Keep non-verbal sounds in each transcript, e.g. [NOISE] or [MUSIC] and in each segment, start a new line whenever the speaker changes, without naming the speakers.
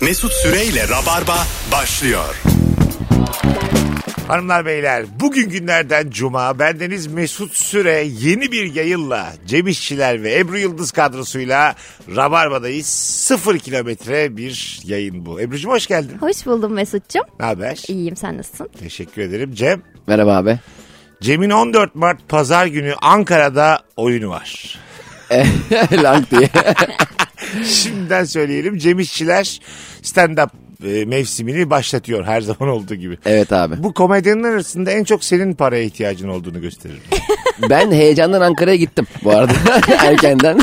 Mesut Süreyle Rabarba başlıyor.
Hanımlar beyler bugün günlerden cuma bendeniz Mesut Süre yeni bir yayınla Cem İşçiler ve Ebru Yıldız kadrosuyla Rabarba'dayız. Sıfır kilometre bir yayın bu. Ebru'cum hoş geldin.
Hoş buldum Mesut'cum.
Ne haber?
İyiyim sen nasılsın?
Teşekkür ederim Cem.
[LAUGHS]
Merhaba abi.
Cem'in 14 Mart pazar günü Ankara'da oyunu var.
Lang diye.
Şimdiden söyleyelim Cem İşçiler stand-up e, mevsimini başlatıyor her [LAUGHS] zaman olduğu gibi.
Evet abi.
Bu komedyanın arasında en çok senin paraya ihtiyacın olduğunu gösterir.
Ben heyecandan Ankara'ya gittim bu
[LAUGHS]
arada. Erkenden.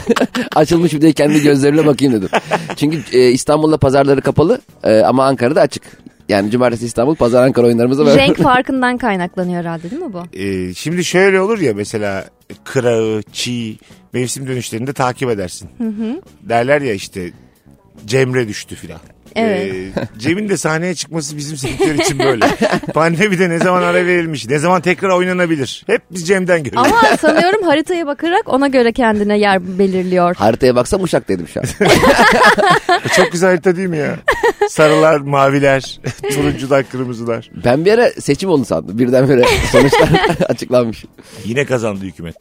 Açılmış bir de kendi gözlerimle bakayım dedim. Çünkü e, İstanbul'da pazarları kapalı e, ama Ankara'da açık. Yani cumartesi İstanbul, pazar Ankara oyunlarımızda böyle.
Renk farkından kaynaklanıyor herhalde değil mi bu?
Ee, şimdi şöyle olur ya mesela kırağı, çiğ mevsim dönüşlerinde takip edersin. Derler ya işte Cemre düştü filan.
Evet.
Ee, Cem'in de sahneye çıkması bizim sektör için böyle. Pandemide ne zaman ara verilmiş, ne zaman tekrar oynanabilir. Hep biz Cem'den görüyoruz.
Ama sanıyorum haritaya bakarak ona göre kendine yer belirliyor.
Haritaya baksam Uşak'taydım şu an.
Çok güzel harita değil mi ya? Sarılar, maviler, turuncular, kırmızılar.
Ben bir ara seçim oldu sandım. Birdenbire sonuçlar [LAUGHS] açıklanmış.
Yine kazandı hükümet.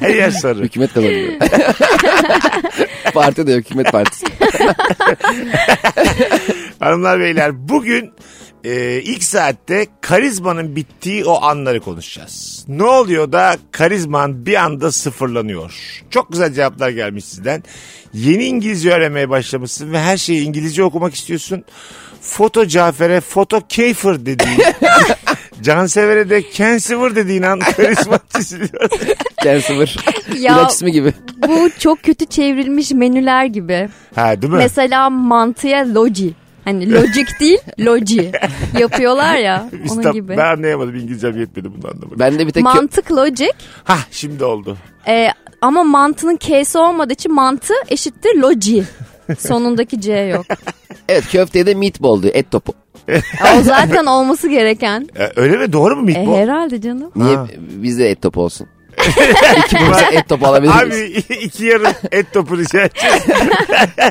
Her yer sarı.
Hükümet kazanıyor.
[LAUGHS]
Parti de yok, hükümet partisi.
Hanımlar beyler bugün e, ilk saatte karizmanın bittiği o anları konuşacağız. Ne oluyor da karizman bir anda sıfırlanıyor? Çok güzel cevaplar gelmiş sizden. Yeni İngilizce öğrenmeye başlamışsın ve her şeyi İngilizce okumak istiyorsun. Foto Cafer'e foto Keyfer dediğin, [LAUGHS] Cansever'e de Kensiver dediğin an karizman [LAUGHS] çiziliyor.
Ken sıfır.
Ya-
İlaç ismi gibi.
bu çok kötü çevrilmiş menüler gibi.
Ha değil mi?
Mesela mantıya loji. Hani logic değil, loji. Yapıyorlar ya onun
İstab-
gibi.
Ben anlayamadım İngilizcem yetmedi bunu anlamadım.
Ben de bir tek
Mantık logic
Hah şimdi oldu.
e, ama mantının K'si olmadığı için mantı eşittir loji. Sonundaki C yok.
evet köfteye de meatball diyor. Et topu.
O zaten olması gereken.
E, öyle mi? Doğru mu
E,
Mikbo?
herhalde canım.
Niye
Ha.
bizde et topu
[LAUGHS]
olsun? İkimiz et topu alabiliriz.
Abi [LAUGHS] iki yarım et topu rica edeceğiz.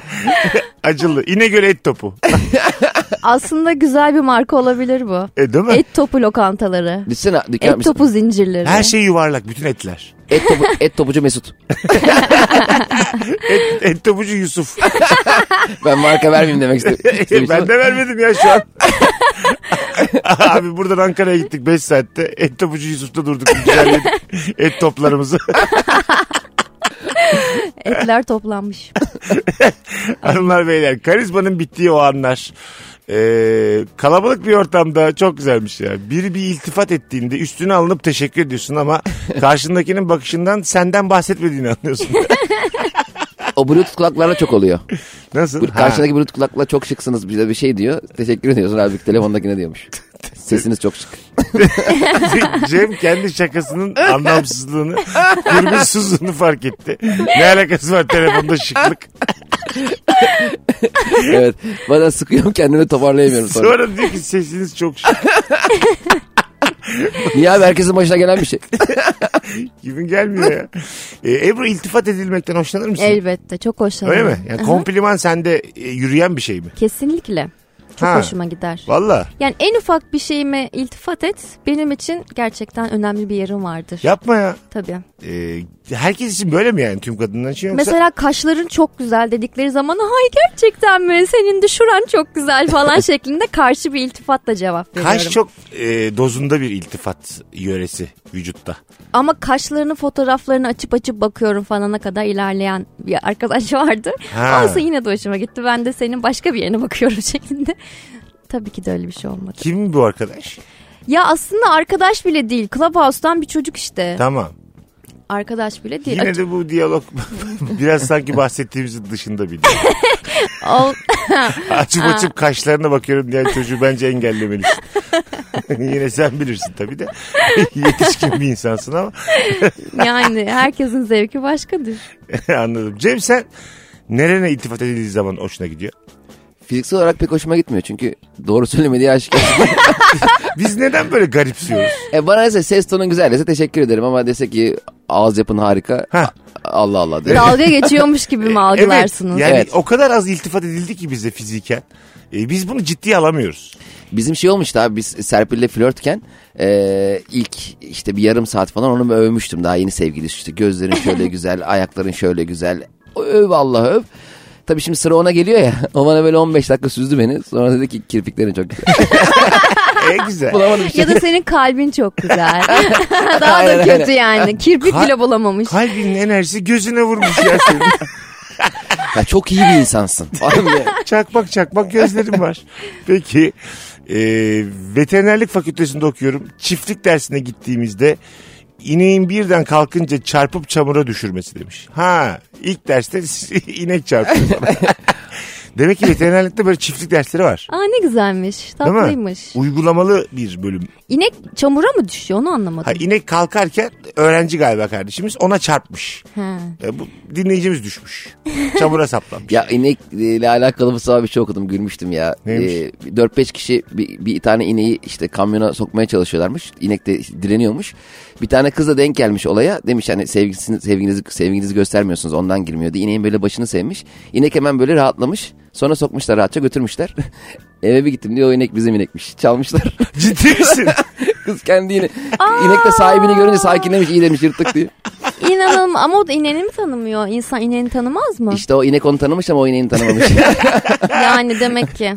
[LAUGHS] Acılı. İnegöl et topu.
Aslında güzel bir marka olabilir bu.
E, değil mi?
Et topu lokantaları.
Düşsene dükkan
Et topu zincirleri.
şey Her şey yuvarlak. Bütün etler.
et, topu, et topucu Mesut.
Et, et topucu Yusuf. [LAUGHS]
Ben marka vermeyeyim demek istedim. istemiştim
ben
ama
de vermedim ya şu an. [LAUGHS] Abi buradan Ankara'ya gittik 5 saatte. Et topucu Yusuf'ta durduk. Güzelledik et toplarımızı. [LAUGHS]
Etler toplanmış.
Hanımlar beyler karizmanın bittiği o anlar. Ee, kalabalık bir ortamda çok güzelmiş ya. Biri bir iltifat ettiğinde üstüne alınıp teşekkür ediyorsun ama karşındakinin bakışından senden bahsetmediğini anlıyorsun.
O bluetooth kulaklarla çok oluyor.
Nasıl?
Bu- Karşıdaki bluetooth kulakla çok şıksınız bize bir şey diyor. Teşekkür ediyorsun halbuki
[LAUGHS]
telefondakine diyormuş. Sesiniz çok şık.
Ha. [LAUGHS] Cem kendi şakasının anlamsızlığını, kurgusuzluğunu fark etti. Ne alakası var telefonda şıklık?
Evet. Bazen sıkıyorum kendimi toparlayamıyorum sonra.
Sonra diyor ki sesiniz çok şık.
Niye abi herkesin başına gelen bir şey.
Kimin gelmiyor ya. Ee, Ebru iltifat edilmekten hoşlanır mısın?
Elbette çok
Öyle
hoşlanıyorum.
mi? Yani
Aha.
kompliman sende e, yürüyen bir şey mi?
Kesinlikle. Çok
Ha.
hoşuma gider.
Valla.
Yani en ufak bir şeyime iltifat et benim için gerçekten önemli bir yerim vardır.
Yapma ya.
Tabii.
Ee, herkes için böyle mi yani tüm kadınlar için yoksa?
Mesela kaşların çok güzel dedikleri zaman ay gerçekten mi senin de şuran çok güzel
[LAUGHS]
falan şeklinde karşı bir iltifatla cevap veriyorum.
Kaş çok e, dozunda bir iltifat yöresi vücutta.
Ama kaşlarını fotoğraflarını açıp açıp bakıyorum falana kadar ilerleyen bir arkadaş [LAUGHS] vardı.
Ha.
Olsa yine de hoşuma gitti. Ben de senin başka bir yerine bakıyorum [LAUGHS] şeklinde. Tabii ki de öyle bir şey olmadı.
Kim bu arkadaş?
Ya aslında arkadaş bile değil. Clubhouse'dan bir çocuk işte.
Tamam.
Arkadaş bile değil.
Yine de bu diyalog [LAUGHS] biraz sanki bahsettiğimizin dışında bir
Ol-
Açıp açıp kaşlarına bakıyorum diyen çocuğu bence engellemelisin. [LAUGHS] Yine sen bilirsin tabii de. [LAUGHS] Yetişkin bir insansın ama [LAUGHS]
yani herkesin zevki başkadır.
anladım. Cem sen nerene iltifat edildiği zaman hoşuna gidiyor?
Fiziksel olarak pek hoşuma gitmiyor çünkü doğru
[LAUGHS]
söylemediği aşikar.
Biz neden böyle garipsiyoruz?
[LAUGHS] e bana dese ses tonun güzel dese teşekkür ederim ama dese ki ağız yapın harika.
Heh.
Allah Allah derim.
Dalga geçiyormuş gibi mi algılarsınız?
Evet, yani
Evet.
o kadar az iltifat edildi ki bize fiziken. E, biz bunu ciddiye alamıyoruz.
Bizim şey olmuştu abi biz Serpil'le flörtken e, ilk işte bir yarım saat falan onu övmüştüm daha yeni sevgili işte gözlerin
[LAUGHS]
şöyle güzel ayakların şöyle güzel öv Allah öv. Tabii şimdi sıra ona geliyor ya [LAUGHS] o bana böyle 15 dakika süzdü beni sonra dedi ki kirpiklerin
[LAUGHS]
çok güzel.
E güzel.
Bulamadım bir şey.
Ya da senin kalbin
[LAUGHS]
çok güzel. Daha da
Aynen,
kötü yani. Kirpik
Kal-
bile bulamamış.
Kalbinin enerjisi gözüne vurmuş ya senin.
Ya çok iyi
[LAUGHS]
bir insansın. Falan diye.
çakmak çakmak gözlerim var. Peki e, veterinerlik fakültesinde okuyorum. Çiftlik dersine gittiğimizde ineğin birden kalkınca çarpıp çamura düşürmesi demiş. Ha ilk derste [LAUGHS] inek çarptı. bana. Demek ki veterinerlikte böyle çiftlik dersleri var.
Aa ne güzelmiş.
Değil mi?
Tatlıymış.
Uygulamalı bir bölüm.
İnek çamura mı düşüyor onu anlamadım.
Ha, inek kalkarken öğrenci galiba kardeşimiz ona çarpmış.
Ha.
E, bu dinleyicimiz düşmüş. Çamura saplanmış.
Ya inekle alakalı bu sabah bir şey okudum gülmüştüm ya.
Neymiş?
Ee, 4-5 kişi bir, bir tane ineği işte kamyona sokmaya çalışıyorlarmış. İnek de işte direniyormuş. Bir tane kız da denk gelmiş olaya. Demiş hani sevgilisini, sevginizi, sevginizi göstermiyorsunuz ondan girmiyordu. İneğin böyle başını sevmiş. İnek hemen böyle rahatlamış. Sonra sokmuşlar rahatça götürmüşler. [LAUGHS] Eve bir gittim diyor o inek bizim inekmiş. Çalmışlar.
[LAUGHS]
[LAUGHS]
Ciddi misin?
kız kendi yine. inek de sahibini görünce sakinlemiş iyi demiş yırttık diye.
İnanılmaz ama o da ineni mi tanımıyor? İnsan ineni tanımaz mı?
İşte o inek onu tanımış ama o ineğini tanımamış.
Yani demek ki.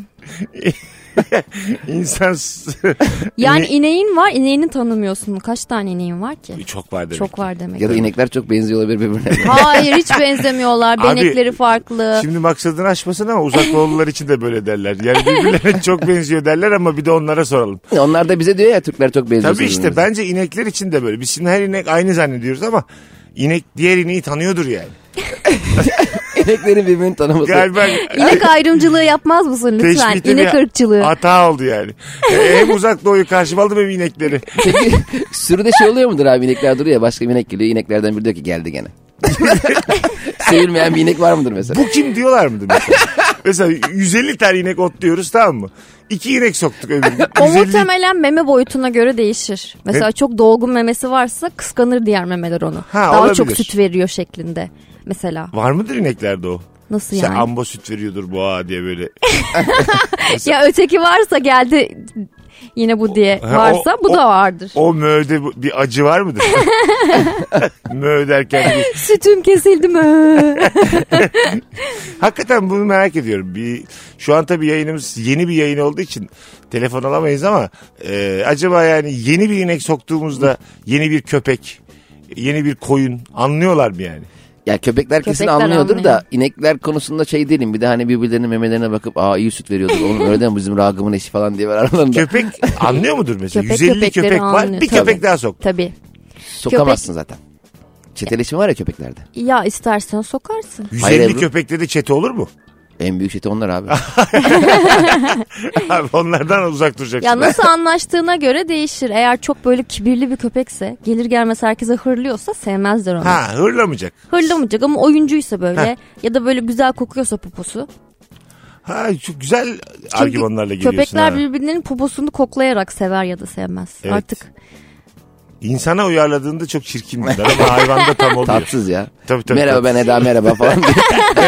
İnsan s- [LAUGHS]
Yani ineğin var ineğini tanımıyorsun. Kaç tane ineğin var ki?
çok var demek.
Çok var demek.
ya da inekler çok benziyor olabilir birbirine.
Hayır hiç benzemiyorlar.
Abi,
Benekleri farklı.
Şimdi maksadını aşmasın ama uzak doğulular için de böyle derler. Yani [LAUGHS] birbirlerine çok benziyor derler ama bir de onlara soralım.
Onlar da bize diyor ya Türkler çok benziyor.
Tabii işte
birbirimize.
bence inekler için de böyle. Biz şimdi her inek aynı zannediyoruz ama inek diğer ineği tanıyordur yani.
[LAUGHS] İneklerin birbirini tanıması.
Galiba
İnek ayrımcılığı yapmaz mısın lütfen?
teşbihte
İnek
bir
ırkçılığı.
hata oldu yani. E, hem uzak doğuyu karşıma aldım hem inekleri.
Peki sürüde şey oluyor mudur abi inekler duruyor ya başka bir inek geliyor ineklerden biri diyor ki
[LAUGHS]
geldi gene. Sevilmeyen bir inek var mıdır mesela?
Bu kim diyorlar mıdır
[LAUGHS]
mesela? mesela 150 tane inek otluyoruz tamam mı? İki inek soktuk öbürüne.
[LAUGHS] O
150
muhtemelen meme boyutuna göre değişir. Mesela çok dolgun memesi varsa kıskanır diğer memeler onu.
Ha,
Daha
olabilir.
çok süt veriyor şeklinde. Mesela
Var mıdır ineklerde o?
nasıl
Sen
yani?
amba süt veriyordur boğa diye böyle.
ya öteki varsa geldi yine bu diye
Ha, o-
varsa bu da vardır.
O möğde bu- bir acı var
[LAUGHS]
mıdır? Mö derken bir-
Sütüm
[LAUGHS]
kesildi mi?
Hakikaten bunu merak ediyorum. Bir, şu an tabii yayınımız yeni bir yayın olduğu için telefon alamayız ama e, acaba yani yeni bir inek soktuğumuzda yeni bir köpek, yeni bir koyun anlıyorlar mı yani?
Ya köpekler kesin
Köpekler
anlıyordur
anlıyor.
da inekler konusunda şey değilim. Bir de hani birbirlerinin memelerine bakıp aa iyi süt veriyordur. Oğlum öyle deme bizim ragımın eşi falan diye var
[LAUGHS]
aralarında.
Köpek anlıyor mudur mesela?
Köpek
150
köpekleri
köpek var
anlıyor.
bir
Tabii.
köpek daha soktu.
Tabii.
Sokamazsın zaten. Çeteleşme var ya köpeklerde.
Ya istersen sokarsın.
150
Hayır Ebru.
köpekte de çete olur
[LAUGHS]
mu?
En büyük çete onlar
Ah,
abi.
Abi onlardan uzak duracaksın.
Ya nasıl anlaştığına göre değişir. Eğer çok böyle kibirli bir köpekse gelir gelmez herkese hırlıyorsa sevmezler onu.
Ha hırlamayacak.
Hırlamayacak ama oyuncuysa böyle
Ha.
ya da böyle güzel kokuyorsa poposu.
Ha çok güzel
Çünkü
argümanlarla geliyorsun.
Köpekler
ha.
birbirinin poposunu koklayarak sever ya da sevmez.
Evet.
Artık
İnsana uyarladığında çok çirkin bunlar ama hayvanda tam oluyor.
Tatsız ya.
Tabii, tabii,
merhaba
tabii.
ben Eda merhaba
[LAUGHS]
falan diye.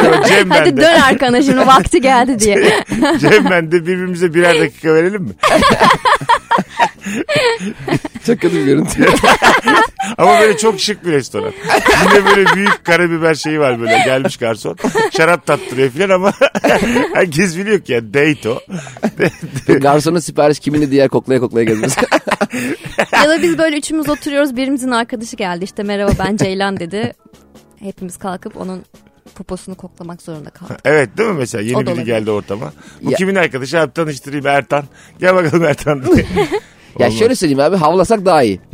Merhaba, Cem
hadi
bende.
dön arkana şimdi vakti geldi
[LAUGHS]
diye.
Cem bende birbirimize birer dakika verelim mi?
çok kötü bir görüntü.
Ama böyle çok şık bir restoran. Yine böyle büyük karabiber şeyi var böyle gelmiş garson. Şarap tattırıyor falan ama [LAUGHS] herkes biliyor ki ya date o.
Garsonun sipariş kimini diğer koklaya koklaya gezmesi.
ya da biz böyle üçümüz oturuyoruz birimizin arkadaşı geldi işte merhaba ben Ceylan dedi. Hepimiz kalkıp onun poposunu koklamak zorunda
[LAUGHS]
kaldık.
Evet değil mi mesela
O da
yeni biri
olabilir.
geldi ortama. Bu
Ya-
kimin arkadaşı? Abi tanıştırayım Ertan. Gel bakalım
[LAUGHS]
Ertan diye.
Ya
Olmaz.
şöyle söyleyeyim abi havlasak daha iyi.
[LAUGHS]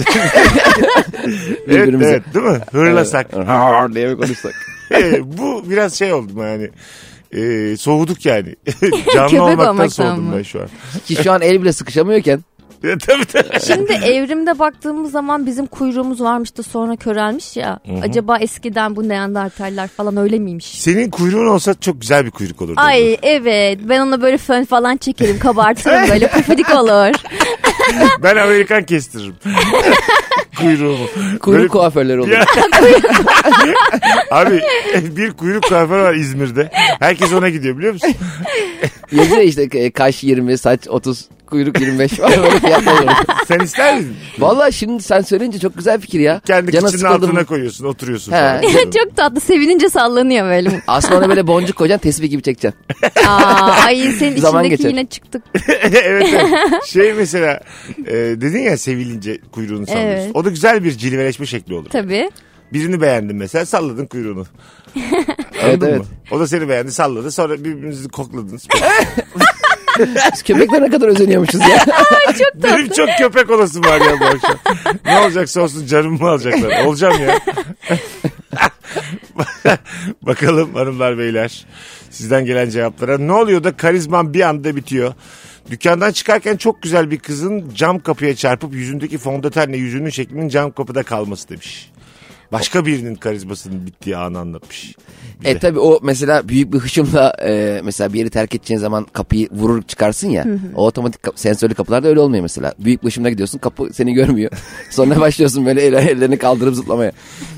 evet,
[LAUGHS] Birbirimize.
evet değil mi? Hırlasak.
[LAUGHS]
Har diye bir konuşsak.
[LAUGHS] Ee, bu biraz şey oldu mu yani. Ee, soğuduk yani. [LAUGHS] Canlı
Köpek
olmaktan
olmaktan
soğudum
mı?
ben şu an. [LAUGHS]
Ki şu an el bile sıkışamıyorken
tabii tabii.
Şimdi evrimde baktığımız zaman bizim kuyruğumuz varmış da sonra körelmiş ya. Acaba eskiden bu neandertaller falan öyle
Şey
miymiş?
Senin kuyruğun olsa çok güzel bir kuyruk olurdu.
Ay evet ben ona böyle fön falan çekerim
[LAUGHS]
kabartırım böyle pufidik olur.
Ben Amerikan kestiririm. [LAUGHS] Kuyruğumu.
Kuyruk
Böyle-
kuaförleri olur.
[LAUGHS]
[LAUGHS]
Ya- Abi bir kuyruk kuaförü var İzmir'de. Herkes ona gidiyor biliyor musun?
Yazıyor işte e, kaş 20, saç 30, kuyruk 25 var
[LAUGHS]
böyle fiyatlar olur.
Sen ister misin?
Valla şimdi sen söyleyince çok güzel fikir ya.
Kendi
Cana
kıçının
sıkıldım.
altına koyuyorsun oturuyorsun.
[LAUGHS]
He.
falan.
Çok tatlı sevinince sallanıyor böyle.
Asmana böyle boncuk koyacaksın tespih gibi çekeceksin.
Aa, ay senin
Zaman
içindeki
geçer.
yine çıktık.
[LAUGHS]
[LAUGHS]
evet, evet. Şey mesela e, dedin ya sevilince kuyruğunu sallıyorsun.
Evet.
O da güzel bir cilveleşme şekli olur.
Tabii.
Birini beğendin mesela salladın kuyruğunu.
evet evet.
Mı? O da seni beğendi salladı sonra birbirinizi kokladınız.
Biz köpeklere ne kadar özeniyormuşuz ya.
Benim çok köpek olası var ya bu akşam. ne olacaksa olsun canımı mı alacaklar? Olacağım ya. [LAUGHS] Bakalım hanımlar beyler sizden gelen cevaplara. Ne oluyor da karizman bir anda bitiyor. Dükkandan çıkarken çok güzel bir kızın cam kapıya çarpıp yüzündeki fondötenle yüzünün şeklinin cam kapıda kalması demiş. Başka birinin karizmasının bittiği anı anlatmış.
e tabi o mesela büyük bir hışımla e, mesela bir yeri terk edeceğin zaman kapıyı vurur çıkarsın ya. o otomatik kap- sensörlü kapılarda öyle olmuyor mesela. Büyük bir hışımla gidiyorsun kapı
[LAUGHS]
seni görmüyor. Sonra başlıyorsun böyle el, ellerini kaldırıp zıplamaya.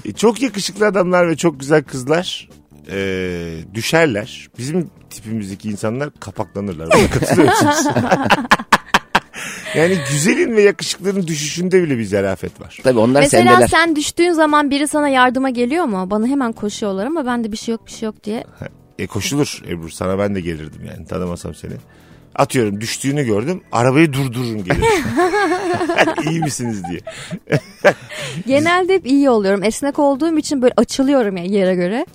E, çok yakışıklı adamlar ve çok güzel kızlar e, düşerler. Bizim tipimizdeki insanlar kapaklanırlar. Buna katılıyor musunuz? yani güzelin ve yakışıklının düşüşünde bile bir zarafet var.
Tabi onlar
Mesela
sendeler.
sen düştüğün zaman biri sana yardıma geliyor mu? Bana hemen koşuyorlar ama ben de bir şey yok bir şey yok diye.
E koşulur Ebru sana ben de gelirdim yani tanımasam seni. Atıyorum düştüğünü gördüm arabayı durdururum gelirim. İyi misiniz diye. E,
Genelde hep iyi oluyorum. Esnek olduğum için böyle açılıyorum ya yere göre.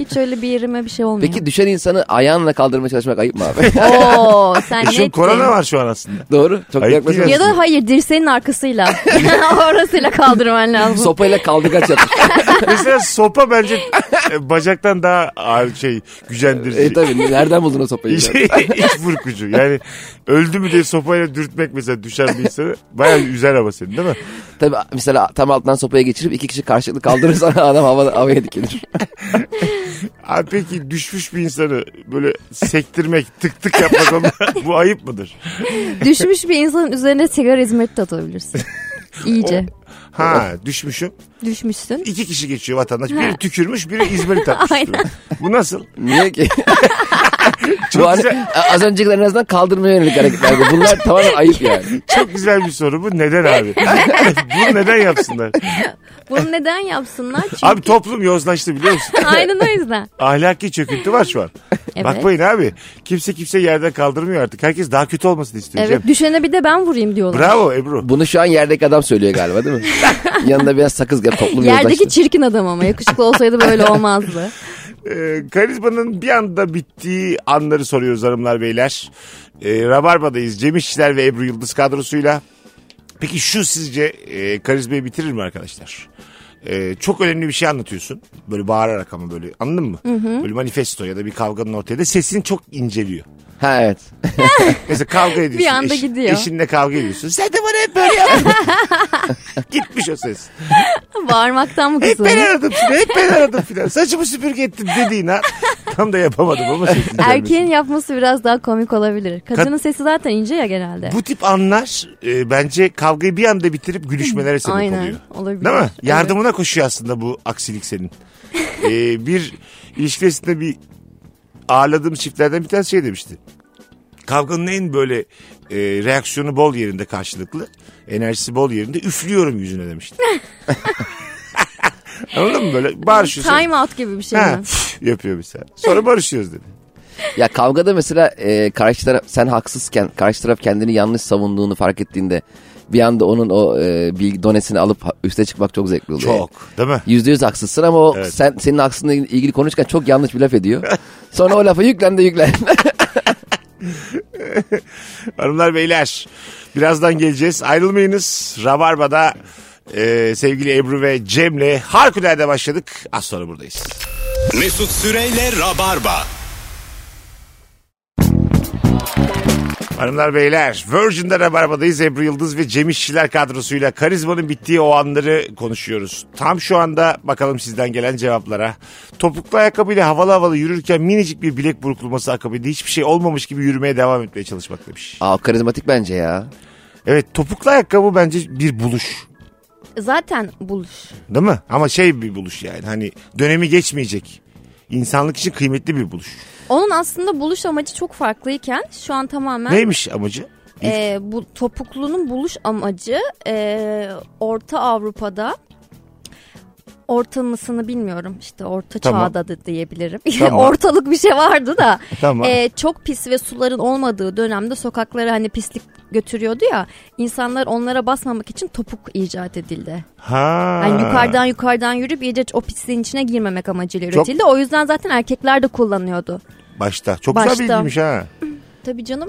Hiç öyle bir yerime bir şey olmuyor.
Peki düşen insanı ayağınla kaldırmaya çalışmak ayıp mı abi? [LAUGHS]
Oo sen
E
ne
şimdi
ettin?
korona var şu an aslında.
Doğru. Çok
Ayıp
yaklaşık.
değil
Ya da hayır dirseğin arkasıyla. [LAUGHS] Orasıyla kaldırman lazım.
[LAUGHS] Sopayla
[LAUGHS]
kaldırgaç yapar.
Mesela sopa bence e, bacaktan daha ağır şey gücendirici.
e tabi nereden buldun o sopayı?
İç, [LAUGHS] iç burkucu. Yani öldü mü diye sopayla dürtmek mesela düşen bir insanı bayağı üzer ama seni değil mi?
Tabii mesela tam alttan sopaya geçirip iki kişi karşılıklı kaldırırsan [LAUGHS] adam hava, havaya dikilir.
Abi peki düşmüş bir insanı böyle sektirmek, tık tık yapmak ona- [LAUGHS] bu ayıp mıdır?
Düşmüş bir insanın üzerine sigara hizmeti de atabilirsin. İyice.
Ha düşmüşüm.
Düşmüşsün.
İki kişi geçiyor vatandaş. Biri tükürmüş, biri
[LAUGHS]
İzmir'i atmış.
Aynen.
Bu nasıl?
Niye ki?
[LAUGHS] Çok
Bu hani-
güzel.
a- az öncekiler en azından kaldırmaya yönelik hareketler.
[LAUGHS]
Bunlar tamamen ayıp yani.
Çok güzel bir soru bu. Neden abi? [LAUGHS] Bunu neden yapsınlar?
Bunu neden yapsınlar? Çünkü
Abi toplum yozlaştı biliyor musun?
[LAUGHS] aynen o yüzden.
Ahlaki çöküntü var şu an.
Evet.
Bakmayın abi. Kimse kimse yerden kaldırmıyor artık. Herkes daha kötü olmasını istiyor.
Evet
Cem.
düşene bir de ben vurayım diyorlar.
Bravo Ebru.
Bunu şu an yerdeki adam söylüyor galiba değil mi? Yanında biraz sakız gibi toplum
Yerdeki
yozlaştı.
çirkin adam ama yakışıklı olsaydı böyle olmazdı.
Ee, karizmanın bir anda bittiği anları soruyoruz hanımlar beyler. Ee, Rabarba'dayız. Cem İşçiler ve Ebru Yıldız kadrosuyla. Peki şu sizce e, karizmayı bitirir mi arkadaşlar? Ee, çok önemli bir şey anlatıyorsun. Böyle bağırarak ama böyle anladın mı? Böyle manifesto ya da bir kavganın ortaya da sesini çok inceliyor.
Ha evet.
Mesela
[LAUGHS]
kavga ediyorsun.
anda gidiyor.
Eşinle kavga ediyorsun. Sen de bana hep böyle
[LAUGHS]
yaptın. Gitmiş o ses.
Bağırmaktan mı
Hep
kızım?
ben aradım filan. Hep ben aradım filan. Saçımı süpürge ettim dediğin
[LAUGHS]
ha. Tam da yapamadım ama sesin
Erkeğin
gelmesin.
yapması biraz daha komik olabilir. Kadının sesi zaten ince ya genelde.
Bu tip anlar e, bence kavgayı bir anda bitirip gülüşmelere sebep
Aynen,
oluyor.
olabilir.
Değil mi?
Evet.
Yardımına koşuyor aslında bu aksilik senin.
[LAUGHS]
E, bir ilişkisinde bir ağırladığım çiftlerden bir tanesi şey demişti. Kavganın en böyle e, reaksiyonu bol yerinde karşılıklı. Enerjisi bol yerinde üflüyorum yüzüne demişti.
[LAUGHS]
Anladın mı böyle? Bağırışıyorsun.
Time out gibi bir şey
Ha,
mi?
yapıyor mesela. Sonra barışıyoruz dedi.
Ya kavgada mesela e, karşı taraf sen haksızken karşı taraf kendini yanlış savunduğunu fark ettiğinde bir anda onun o e, bilgi donesini alıp ha- üste çıkmak çok zevkli oluyor.
Çok. Değil mi?
Yüzde yüz haksızsın ama o
Evet.
sen senin haksızlığınla ilgili konuşurken çok yanlış bir
[LAUGHS]
laf ediyor. Sonra o lafa yüklen de yüklen.
Hanımlar beyler birazdan geleceğiz. Ayrılmayınız. Rabarba'da e, sevgili Ebru ve Cem'le harikulade başladık. Az sonra buradayız.
Mesut Süreyle Rabarba.
Hanımlar beyler Virgin'de Rabarba'dayız. Ebru Yıldız ve Cem İşçiler kadrosuyla karizmanın bittiği o anları konuşuyoruz. Tam şu anda bakalım sizden gelen cevaplara. Topuklu ayakkabıyla havalı havalı yürürken minicik bir bilek burkulması akabinde hiçbir şey olmamış gibi yürümeye devam etmeye çalışmak demiş.
Aa karizmatik bence ya.
Evet topuklu ayakkabı bence bir buluş.
Zaten buluş.
Değil mi? Ama şey bir buluş yani hani dönemi geçmeyecek. İnsanlık için kıymetli bir buluş.
Onun aslında buluş amacı çok farklıyken şu an tamamen
Neymiş amacı?
e, bu topuklunun buluş amacı e, Orta Avrupa'da ortamasını bilmiyorum işte orta
Tamam.
çağda da diyebilirim. [LAUGHS]
Tamam.
Ortalık bir şey vardı da
[LAUGHS] Tamam.
e, çok pis ve suların olmadığı dönemde sokaklara hani pislik götürüyordu ya insanlar onlara basmamak için topuk icat edildi.
ha.
Yani yukarıdan yukarıdan yürüp iyice o pisliğin içine girmemek amacıyla
Çok-
üretildi. O yüzden zaten erkekler de kullanıyordu.
Başta. Çok
Başta.
güzel bilgiymiş ha.
Tabii canım.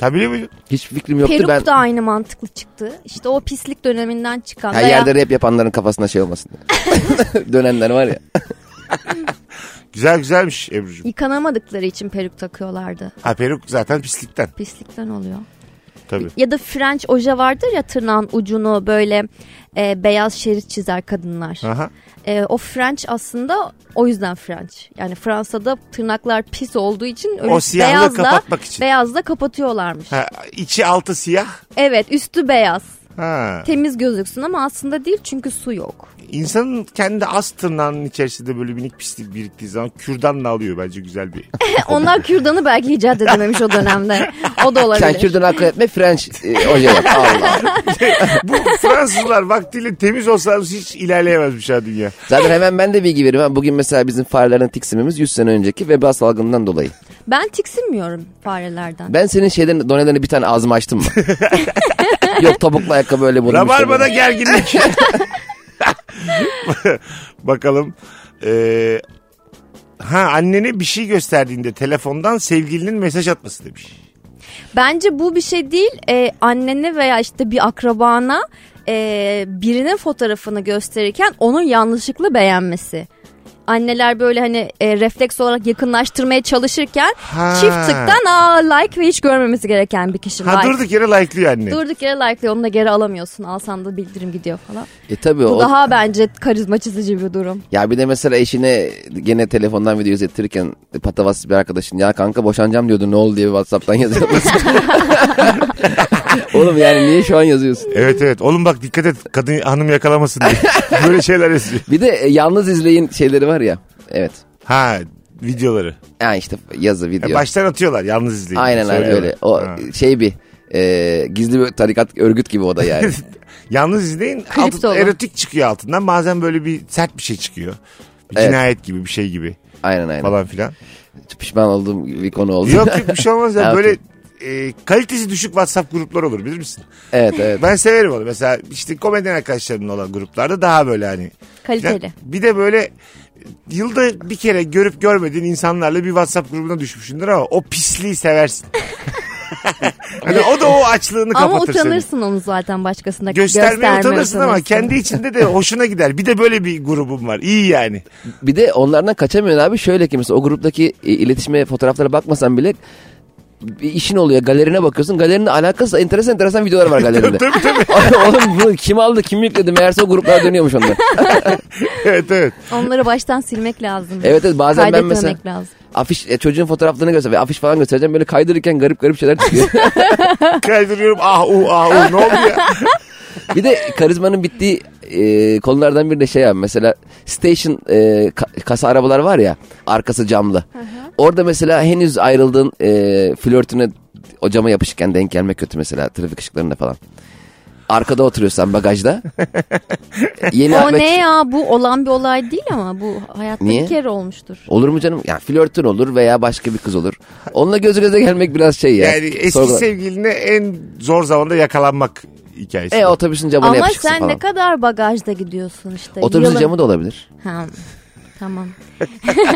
Sen biliyor muydun?
Hiç fikrim yoktu
Peruk
ben.
da aynı mantıklı çıktı. İşte o pislik döneminden çıkan.
Her
veya-
yerde rap yapanların kafasına şey olmasın. diye. [LAUGHS] Dönenler var ya.
Güzel güzelmiş Ebru'cum.
Yıkanamadıkları için peruk takıyorlardı.
Ha peruk zaten pislikten
Pislikten oluyor.
tabii.
Ya da French oje vardır ya tırnağın ucunu böyle e, beyaz şerit çizer kadınlar.
Aha.
E, o French aslında o yüzden French. Yani Fransa'da tırnaklar pis olduğu için öyle
O siyahlığı
beyazla,
kapatmak için.
beyazla kapatıyorlarmış.
Ha, içi altı siyah.
Evet üstü beyaz.
Ha.
Temiz gözüksün ama aslında değil çünkü
[LAUGHS]
su yok.
İnsanın kendi az tırnağının içerisinde böyle minik pislik biriktiği zaman kürdanla alıyor bence güzel bir.
Onlar kürdanı belki icat edememiş o dönemde. O da olabilir.
Sen kürdan akıl etme French e, oje yap. Allah.
Bu Fransızlar vaktiyle temiz olsalarmış hiç ilerleyemezmiş ha dünya.
Zaten hemen ben de bilgi veririm. Ha, Bugün mesela bizim farelerin tiksimimiz 100 sene önceki veba salgından dolayı.
Ben tiksinmiyorum farelerden.
Ben senin şeyden donelerini bir tane ağzımı açtım mı?
[LAUGHS]
Yok topuklu ayakkabı öyle bulunmuş.
Rabarba'da gerginlik. [LAUGHS] Bakalım. Ee, ha annene bir şey gösterdiğinde telefondan sevgilinin mesaj atması demiş.
Bence bu bir şey değil. Ee, annene veya işte bir akrabana e, birinin fotoğrafını gösterirken onun yanlışlıkla beğenmesi. Anneler böyle hani e, refleks olarak yakınlaştırmaya çalışırken
Ha.
çift tıktan aa like ve hiç görmemesi gereken bir kişi
Ha
like.
durduk yere like'lıyor anne.
Durduk yere like'lıyor onu da geri alamıyorsun. Alsan da bildirim gidiyor falan.
E tabii
Bu
o.
daha bence karizma çizici bir durum.
Ya bir de mesela eşine gene telefondan video izlettirirken patavas bir arkadaşın ya kanka boşanacağım diyordu ne oldu diye Whatsapp'tan [LAUGHS]
[LAUGHS]
yazıyor. Oğlum yani niye şu an yazıyorsun?
Evet evet. Oğlum bak dikkat et kadın hanım yakalamasın
[LAUGHS]
diye. Böyle şeyler yazıyor.
Bir de e, yalnız izleyin şeyleri var ya. Evet.
Ha videoları.
Ha işte yazı
Ya
video.
baştan atıyorlar yalnız izleyin.
Aynen abi
E, Söylüyorlar.
öyle. O
Ha.
şey bir e, gizli bir tarikat örgüt gibi o da yani.
[LAUGHS] Yalnız izleyin
Klip
altı-
de olur.
erotik çıkıyor altından. Bazen böyle bir sert bir şey çıkıyor. Bir
Evet.
cinayet gibi bir şey gibi
Aynen aynen.
falan filan.
Pişman olduğum bir konu oldu.
Yok
[LAUGHS]
yok bir şey olmaz. ya.
Ha,
böyle e, kalitesi düşük WhatsApp grupları olur bilir misin?
[LAUGHS] evet evet.
Ben severim onu. Mesela işte komedyen arkadaşlarımın olan gruplarda daha böyle hani.
Kaliteli.
Bir de böyle yılda bir kere görüp görmediğin insanlarla bir WhatsApp grubuna düşmüşsündür ama o pisliği
[LAUGHS]
seversin. hani o da o açlığını
Ama
kapatır seni.
utanırsın onu zaten başkasına
Göstermeye
göstermeye
utanırsın ama kendi içinde de hoşuna gider. Bir de böyle bir grubum var. İyi yani.
Bir de onlardan kaçamıyorsun abi. Şöyle ki mesela o gruptaki e, iletişime fotoğraflara bakmasan bile bir işin oluyor. Galerine bakıyorsun. Galerinin alakası enteresan enteresan
[LAUGHS]
videolar var galeride.
Tabii tabii.
[LAUGHS] Oğlum bunu kim aldı kim yükledi meğerse o gruplar dönüyormuş onlar.
Evet evet.
Onları baştan silmek lazım.
Evet evet bazen ben
Kaydetmemek
mesela
lazım.
afiş e, çocuğun fotoğraflarını göster ve afiş falan göstereceğim böyle kaydırırken garip garip
[LAUGHS]
şeyler çıkıyor.
Kaydırıyorum. Ah uh ah uh. Ne oldu ya?
bir de karizmanın bittiği e, konulardan biri de şey abi mesela station e, ka- kasa arabalar var ya arkası camlı. Orada mesela henüz ayrıldığın e, flörtüne o cama yapışırken denk gelmek kötü mesela trafik ışıklarında falan. Arkada
[LAUGHS]
oturuyorsan bagajda. Yeni
O
Ahmet-
ne ya bu olan bir olay değil ama bu hayatta
Niye?
bir kere olmuştur.
Olur mu canım? Ya flörtün olur veya başka bir kız olur. Onunla göz göze gelmek biraz şey ya.
Yani eski
Sorgula-
sevgiline en zor zamanda yakalanmak hikayesi.
E otobüsün camına
Ama
yapışıksın
sen
falan.
ne kadar bagajda gidiyorsun işte.
Otobüsün
Yılın-
camı da olabilir.
Ha, tamam.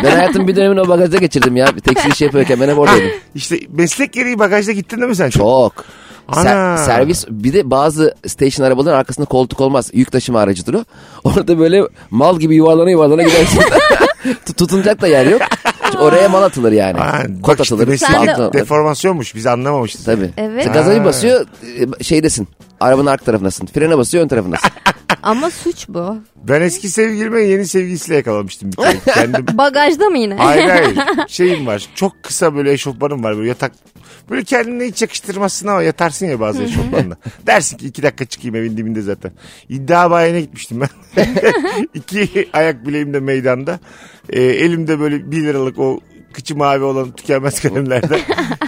Ben hayatım bir dönemini o bagajda geçirdim ya. Bir tekstil işi yapıyorken ben
[LAUGHS]
hep oradaydım.
İşte meslek gereği bagajda gittin değil mi sen?
Çok.
Ana.
Ser- servis bir de bazı station arabaların arkasında koltuk olmaz. Yük taşıma aracıdır [LAUGHS] o. Orada böyle mal gibi yuvarlana yuvarlana gidersin. Tut- Tutunacak da yer yok. oraya mal atılır yani.
Ha,
Kot
bak işte
atılır.
mesela
Sen de-
pantolon atılır.
Deformasyonmuş biz anlamamıştık.
Tabii.
Evet.
Mesela Gaza
Ha.
bir basıyor e, şeydesin. Arabanın arka tarafındasın. Frene basıyor
[LAUGHS]
ön tarafındasın.
Ama suç bu.
Ben eski sevgilime yeni sevgilisiyle yakalamıştım bir
[LAUGHS]
kere. Kendim
Bagajda mı yine?
Hayır
[LAUGHS]
hayır. Şeyim var. Çok kısa böyle eşofmanım var. Böyle yatak. Böyle kendine hiç yakıştırmazsın ama yatarsın ya bazı eşofmanla. Dersin ki iki dakika çıkayım evin dibinde zaten. İddia bayine gitmiştim ben. iki ayak bileğim de meydanda. Ee, elimde böyle bir liralık o kıçı mavi olan tükenmez kalemlerden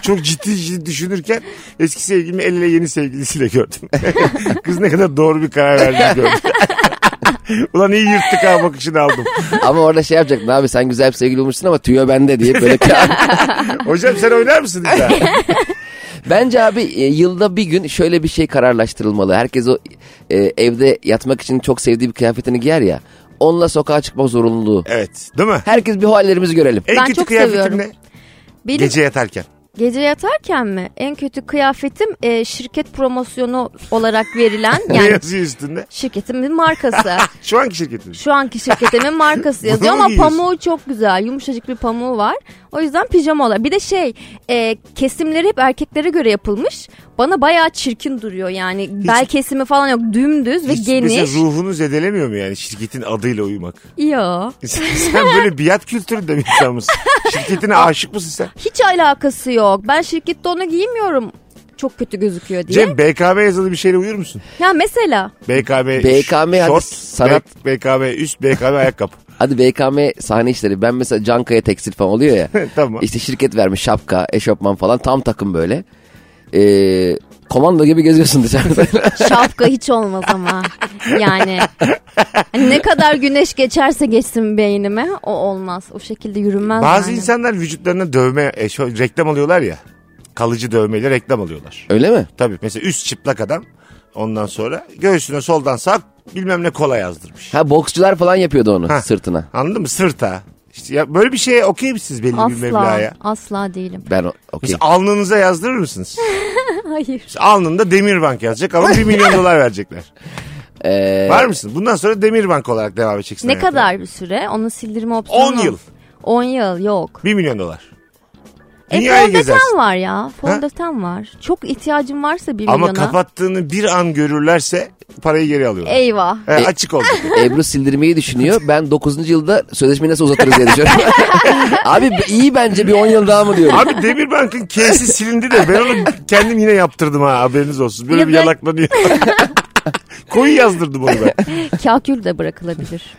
çok ciddi ciddi düşünürken eski sevgilimi elle yeni sevgilisiyle gördüm. [LAUGHS] Kız ne kadar doğru bir karar verdiğini gördüm. [LAUGHS] Ulan iyi yırttık ha bakışını aldım.
ama orada şey yapacaktın abi sen güzel bir sevgili olmuşsun ama tüyo bende diye
[LAUGHS]
böyle kağıt.
Hocam sen oynar mısın iddia?
Bence abi e, yılda bir gün şöyle bir şey kararlaştırılmalı. Herkes o e, evde yatmak için çok sevdiği bir kıyafetini giyer ya. Onunla sokağa çıkma zorunluluğu.
Evet. Değil mi?
Herkes bir hallerimizi görelim.
En
Ben
kötü
çok
kıyafetim
seviyorum.
ne?
Benim gece...
Gece yatarken.
yatarken mi? En kötü kıyafetim e, şirket promosyonu olarak verilen
[LAUGHS] Ne
yani
yazıyor üstünde?
şirketimin markası.
Şu anki şirketin.
Şu
[LAUGHS]
anki şirketimin markası yazıyor
Bunu mu
ama
giyiyorsun?
pamuğu çok güzel. Yumuşacık bir pamuğu var. O yüzden pijama olarak. Bir de şey e, kesimleri hep erkeklere göre yapılmış. Bana bayağı çirkin duruyor yani. Bel kesimi falan yok. Dümdüz ve
Hiç Mesela
geniş.
ruhunu zedelemiyor mu yani şirketin adıyla uyumak?
Yo.
[LAUGHS] sen böyle biat kültüründe bir insan mısın?
[LAUGHS]
Şirketine aşık mısın sen?
Hiç alakası yok. Ben şirkette onu giymiyorum. Çok kötü gözüküyor diye.
Cem BKB yazılı bir şeyle uyur musun?
Ya mesela
BKB,
BKM hadi
şort,
sanat-
bek- BKB üst, BKB
[LAUGHS]
ayakkabı.
Hadi BKM sahne işleri. Ben mesela Cankaya Tekstil falan oluyor ya.
[LAUGHS] Tamam.
İşte şirket vermiş şapka, eşofman falan tam takım böyle. Ee, komando gibi geziyorsun dışarıda.
[LAUGHS]
şapka hiç olmaz ama. Yani Hani ne kadar güneş geçerse geçsin beynime o olmaz. O şekilde yürünmez
Bazı
yani.
insanlar vücutlarına dövme, e, şu- reklam alıyorlar ya. Kalıcı dövmeyle reklam alıyorlar.
Öyle mi?
Tabii mesela üst çıplak adam ondan sonra göğsüne soldan sağ bilmem ne kola yazdırmış.
Ha boksçular falan yapıyordu onu
Ha.
sırtına.
Anladın mı? Sırta. İşte ya böyle bir şeye okey misiniz belli bir meblağa?
Asla, asla değilim.
Ben o- okey.
Mesela alnınıza yazdırır mısınız?
Hayır.
Mesela alnında Demirbank yazacak ama 1 milyon dolar verecekler.
Ee,
Var mısın? Bundan sonra Demirbank olarak devam edeceksin.
Ne
hayatına.
kadar bir süre? Onu sildirme opsiyonu.
10 yıl.
10 yıl yok.
1 milyon dolar.
E
Dünyayı gezersin.
fondöten var ya. Fondöten var. Çok ihtiyacım varsa bir
Ama
milyona.
kapattığını bir an görürlerse parayı geri alıyorlar.
Eyvah. [LAUGHS]
E, açık oldu.
Ebru sildirmeyi düşünüyor. Ben 9. yılda sözleşmeyi nasıl uzatırız diye düşünüyorum. Abi iyi bence bir 10 yıl daha mı diyorum.
Abi Demirbank'ın kesi silindi de ben onu kendim yine yaptırdım ha haberiniz olsun. Böyle
Ya
bir
ben- [LAUGHS]
yalaklanıyor. Koyu yazdırdım onu ben.
Kakül
[LAUGHS]
de bırakılabilir.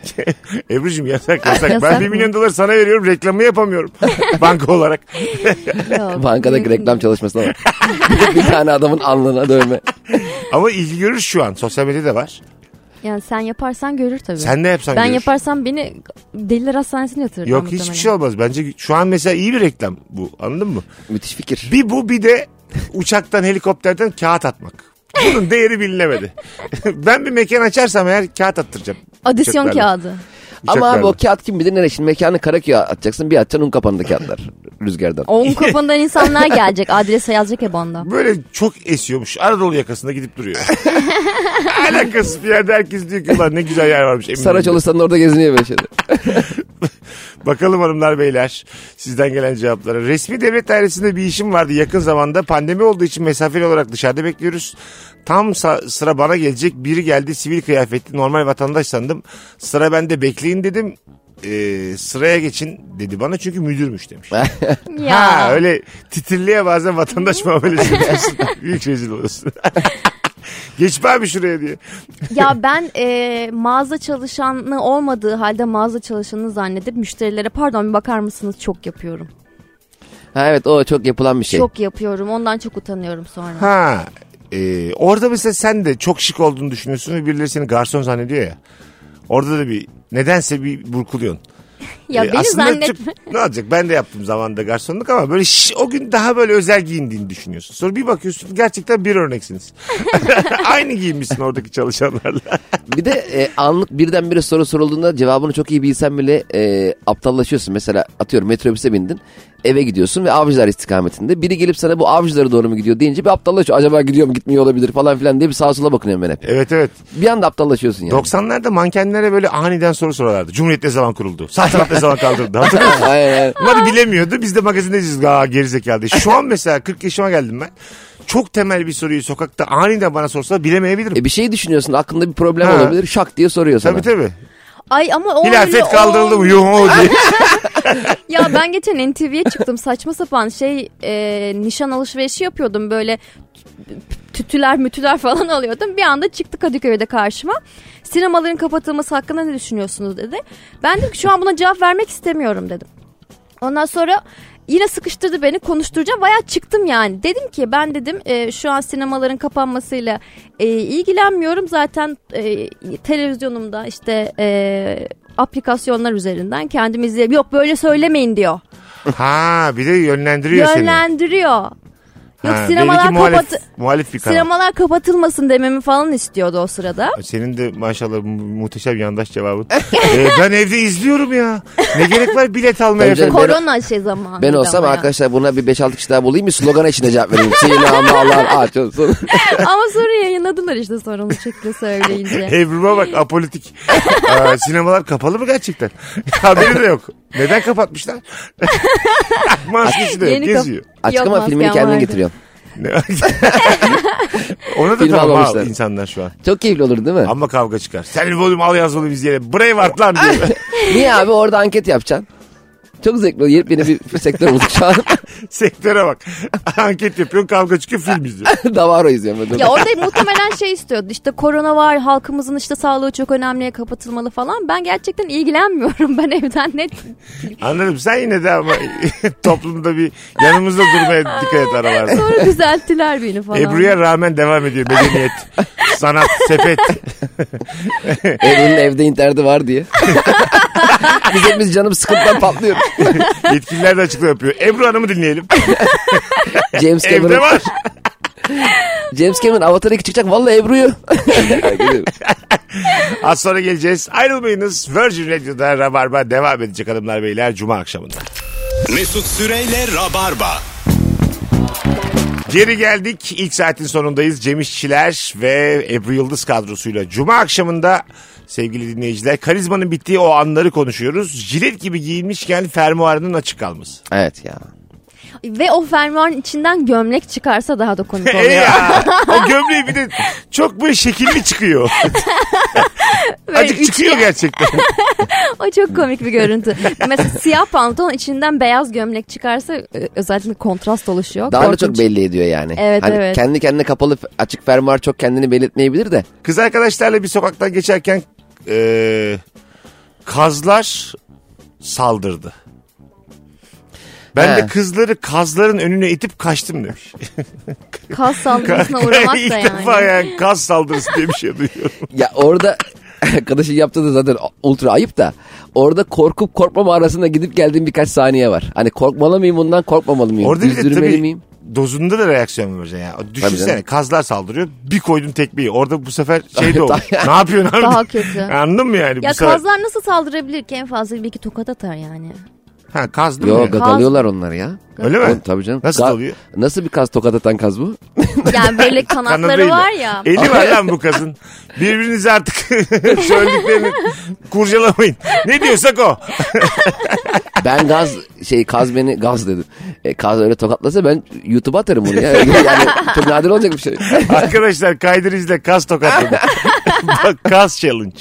Ebru'cum yasak yasak. ben
Yasak
1
mı?
milyon dolar sana veriyorum reklamı yapamıyorum. [LAUGHS] Banka olarak.
Yok.
Bankadaki reklam çalışmasına bak. bir, bir tane adamın alnına dövme.
Ama ilgi görür şu an. Sosyal medyada var.
Yani sen yaparsan görür tabii.
Sen ne yapsan
ben
görür.
yaparsam beni deliler hastanesine yatırırlar
Yok
muhtemelen.
hiçbir şey olmaz. Bence şu an mesela iyi bir reklam bu. Anladın mı?
Müthiş fikir.
Bir bu bir de uçaktan helikopterden kağıt atmak. Bunun değeri bilinemedi. [LAUGHS] ben bir mekan açarsam eğer kağıt attıracağım.
Adisyon
Uçaklarla.
kağıdı.
Ama abi
Uçaklarla.
o kağıt kim bilir nereye. Şimdi mekanı Karaköy'e atacaksın bir atacaksın un kapandı kağıtlar rüzgardan.
Onun
[LAUGHS]
kapından insanlar gelecek. Adrese yazacak ebanda.
Böyle çok esiyormuş. Anadolu yakasında gidip duruyor. [LAUGHS] Alakasız bir yerde herkes diyor ki ulan ne güzel yer varmış. Eminönü'nde."
Saraç olursan orada geziniyor böyle şeyler.
Bakalım hanımlar beyler sizden gelen cevaplara. Resmi devlet dairesinde bir işim vardı yakın zamanda. Pandemi olduğu için mesafeli olarak dışarıda bekliyoruz. Tam sa- sıra bana gelecek biri geldi sivil kıyafetli normal vatandaş sandım. Sıra bende bekleyin dedim. Ee, sıraya geçin dedi bana çünkü müdürmüş demiş.
Ya.
Ha öyle titirliğe bazen vatandaş muamelesi yapıyorsun. Büyük rezil [LAUGHS] oluyorsun. Geçme abi şuraya diye.
Ya ben e, mağaza çalışanı olmadığı halde mağaza çalışanı zannedip müşterilere pardon bir bakar mısınız çok yapıyorum.
Ha evet o çok yapılan bir şey.
Çok yapıyorum ondan çok utanıyorum sonra.
Ha e, orada mesela sen de çok şık olduğunu düşünüyorsun ve birileri seni garson zannediyor ya. Orada da bir nedense bir burkuluyorsun.
ya
E,
beni
aslında
zannetme.
çok- [LAUGHS] ne olacak ben de yaptım zamanında garsonluk ama böyle şş- o gün daha böyle özel giyindiğini düşünüyorsun. Sonra bir bakıyorsun gerçekten bir örneksiniz. [LAUGHS] Aynı giyinmişsin oradaki çalışanlarla. [LAUGHS]
Bir de e, anlık birdenbire soru sorulduğunda cevabını çok iyi bilsen bile e, aptallaşıyorsun. Mesela atıyorum metrobüse bindin eve gidiyorsun ve avcılar istikametinde. Biri gelip sana bu avcılara doğru mu gidiyor deyince bir aptallaşıyor. Acaba gidiyor mu gitmiyor olabilir falan filan diye bir sağa sola bakınıyorum ben hep.
Evet evet.
Bir anda aptallaşıyorsun yani.
90'larda mankenlere böyle aniden soru sorarlardı. Cumhuriyet ne zaman kuruldu? Sağ tarafta ne zaman
[LAUGHS]
kaldırdı.
[LAUGHS] Aynen, aynen.
Bunları bilemiyordu. Biz de magazindeyiz. Aa gerizekalı. diye. Şu an mesela 40 yaşıma geldim ben. Çok temel bir soruyu sokakta aniden bana sorsa bilemeyebilirim.
E bir şey düşünüyorsun aklında bir problem
Ha.
olabilir şak diye soruyor sana.
tabii tabii.
Ay ama o öyle
Hilafet kaldırıldı mı?
olmuyor.
Yo
[LAUGHS]
diye.
Ya ben geçen NTV'ye çıktım saçma sapan şey e, nişan alışverişi yapıyordum böyle tütüler mütüler falan alıyordum. Bir anda çıktı Kadıköy'de karşıma. Sinemaların kapatılması hakkında ne düşünüyorsunuz dedi. Ben dedim ki şu an buna cevap vermek istemiyorum dedim. Ondan sonra yine sıkıştırdı beni konuşturacağım. Bayağı çıktım yani. Dedim ki ben dedim e, şu an sinemaların kapanmasıyla e, ilgilenmiyorum. Zaten e, televizyonumda işte e, aplikasyonlar üzerinden kendim izleyeyim. Yok böyle söylemeyin diyor.
Ha bir de yönlendiriyor seni.
Yönlendiriyor. Yok
Ha,
sinemalar
belli ki muhalif,
kapat
muhalif bir kanal.
sinemalar kapatılmasın dememi falan istiyordu o sırada.
Senin de maşallah mu- muhteşem yandaş cevabın. [LAUGHS] Ee, ben evde izliyorum ya. Ne gerek var bilet almaya
Tabii
efendim.
canım. Ben-
Korona şey zamanı.
Ben olsam arkadaşlar buna bir 5-6 kişi daha bulayım bir slogana içinde cevap vereyim. [LAUGHS] Seni Allah Allah açılsın.
[LAUGHS] Ama sonra yayınladılar işte sorunlu çıktı söyleyince.
Evrim'e bak apolitik. Aa, sinemalar kapalı mı gerçekten? [LAUGHS] Haberi de yok. Neden kapatmışlar? [LAUGHS] Maskesi de yok,
Yeni kap-
geziyor.
Açık
Yok,
ama filmini
maskem
kendin
vardı.
getiriyorsun.
[LAUGHS] Ona da
Film
tamam ha,
almamışlar.
insanlar şu an.
Çok keyifli olur değil mi?
Ama kavga çıkar. Sen volüm al yaz volüm izleyelim. Burayı vart lan diyor.
Niye abi orada anket yapacaksın? Çok zevkli olur. Yepyeni bir bir sektör bulduk şu an.
[LAUGHS]
[LAUGHS]
Sektöre bak. Anket yapıyorsun kavga çıkıyor film izliyor.
Davaro izliyorum. ben.
Ya
[LAUGHS]
orada muhtemelen şey istiyordu işte korona var halkımızın işte sağlığı çok önemli kapatılmalı falan. Ben gerçekten ilgilenmiyorum [LAUGHS] ben evden net.
Anladım sen yine de ama [LAUGHS] toplumda bir yanımızda durmaya dikkat et aralarda. [LAUGHS]
Sonra düzelttiler beni falan.
Ebru'ya rağmen devam ediyor medeniyet, sanat, sepet.
Evrenin evde interneti var diye. [LAUGHS] biz hepimiz canım sıkıntıdan patlıyoruz.
Yetkililer de açıklama yapıyor. Ebru Hanım'ı dinleyelim.
James
Evde
Cameron,
var.
James Cameron Avatar 2 çıkacak. Vallahi Ebru'yu. [LAUGHS]
Az sonra geleceğiz. Ayrılmayınız. Virgin Radio'da Rabarba devam edecek hanımlar beyler Cuma akşamında.
Mesut Süreyle Rabarba.
Geri geldik. İlk saatin sonundayız. Cem İşçiler ve Ebru Yıldız kadrosuyla. Cuma akşamında sevgili dinleyiciler karizmanın bittiği o anları konuşuyoruz. Jilet gibi giyinmişken fermuarının açık kalması.
evet ya.
Ve o fermuarın içinden gömlek çıkarsa daha
[LAUGHS]
da komik
E
oluyor.
ya o gömleği bir de çok böyle şekilli çıkıyor.
Böyle
Acık
üç-
çıkıyor gerçekten.
[LAUGHS] O çok komik bir görüntü. Mesela siyah pantolon içinden beyaz gömlek çıkarsa e, özellikle kontrast oluşuyor.
Daha da
Korkunç.
çok belli ediyor yani.
Evet,
hani
evet.
Kendi kendine kapalı f- açık fermuar çok kendini belirtmeyebilir de.
Kız arkadaşlarla bir sokaktan geçerken e, kazlar saldırdı. Ben
He.
de kızları kazların önüne itip kaçtım demiş. [LAUGHS]
Kas saldırısına uğramak
İlk
da
defa
yani.
yani kaz saldırısı diye bir şey duyuyorum.
Ya orada [LAUGHS] arkadaşın yaptığı da zaten ultra ayıp da. Orada korkup korkmama arasında gidip geldiğim birkaç saniye var. Hani korkmalı mıyım bundan korkmamalı mıyım?
Orada bir de
Üzdürmeli
tabii
miyim?
dozunda da reaksiyon vereceksin ya. Düşünsene
canım.
kazlar saldırıyor bir koydun tekmeyi. Orada bu sefer şey de olur. ne yapıyorsun abi?
Daha kötü.
[LAUGHS] Anladın mı yani?
Ya
bu sefer...
kazlar nasıl saldırabilir ki en fazla bir iki tokat atar yani.
Ha, kaz değil mi?
Yok gagalıyorlar onları ya.
Öyle mi?
Oğlum, tabii canım.
Nasıl
Ga-
oluyor?
Nasıl bir kaz tokat atan kaz bu?
[LAUGHS]
Yani
Kanadıyla.
böyle kanatları var ya.
Eli var lan bu kazın. Birbirinizi artık [LAUGHS] söylediklerini kurcalamayın. Ne diyorsak o.
Ben gaz şey kaz beni gaz dedim. E, kaz öyle tokatlasa ben YouTube'a atarım bunu ya. [LAUGHS] Yani çok nadir olacak bir şey.
Arkadaşlar kaydır izle kaz tokatladı. Bak kaz challenge.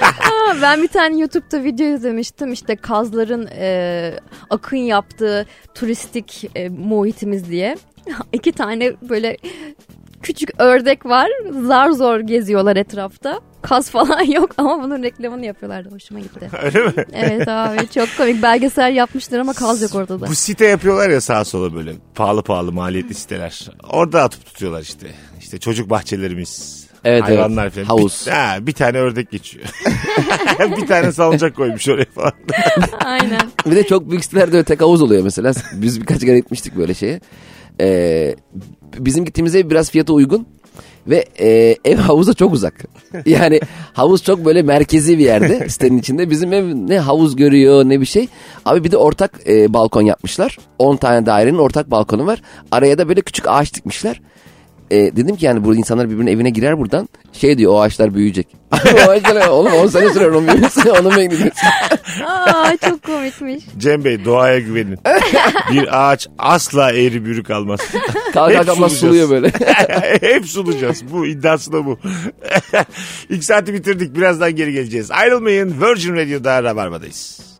Ha, [LAUGHS] ben bir tane YouTube'da video izlemiştim işte kazların e, akın yaptığı turistik e, muhitimiz diye. [LAUGHS] İki tane böyle küçük ördek var zar zor geziyorlar etrafta. Kaz falan [LAUGHS] yok ama bunun reklamını yapıyorlardı hoşuma gitti.
[LAUGHS] Öyle mi?
Evet abi çok komik belgesel yapmışlar ama kaz yok ortada.
Bu site yapıyorlar ya sağa sola böyle pahalı pahalı maliyetli siteler. Orada atıp tutuyorlar işte. İşte çocuk bahçelerimiz.
Evet,
hayvanlar
evet.
falan.
Havuz.
Bir, ha, bir tane ördek geçiyor. [LAUGHS] bir tane salıncak koymuş oraya falan. [LAUGHS]
Aynen.
Bir de çok büyük sitelerde öte havuz oluyor mesela. Biz birkaç kere gitmiştik böyle şeye. Ee, bizim gittiğimiz ev biraz fiyatı uygun. Ve e, ev havuza çok uzak. Yani havuz çok böyle merkezi bir yerde sitenin içinde. Bizim ev ne havuz görüyor ne bir şey. Abi bir de ortak e, balkon yapmışlar. 10 tane dairenin ortak balkonu var. Araya da böyle küçük ağaç dikmişler. e, dedim ki yani burada insanlar birbirinin evine girer buradan. Şey diyor o ağaçlar büyüyecek. [LAUGHS] o ağaçlar oğlum 10 sene sürer onun büyümesi. Onun bekleyeceğiz.
Aa çok komikmiş.
Cem Bey doğaya
[LAUGHS]
güvenin. bir ağaç asla eğri bürü kalmaz. [LAUGHS]
Kalk
Hep
kalk ama
sulayacağız.
suluyor böyle.
Hep sunacağız. Bu iddiası da bu. [LAUGHS] İlk saati bitirdik. Birazdan geri geleceğiz. Ayrılmayın. Virgin Radio'da Rabarba'dayız.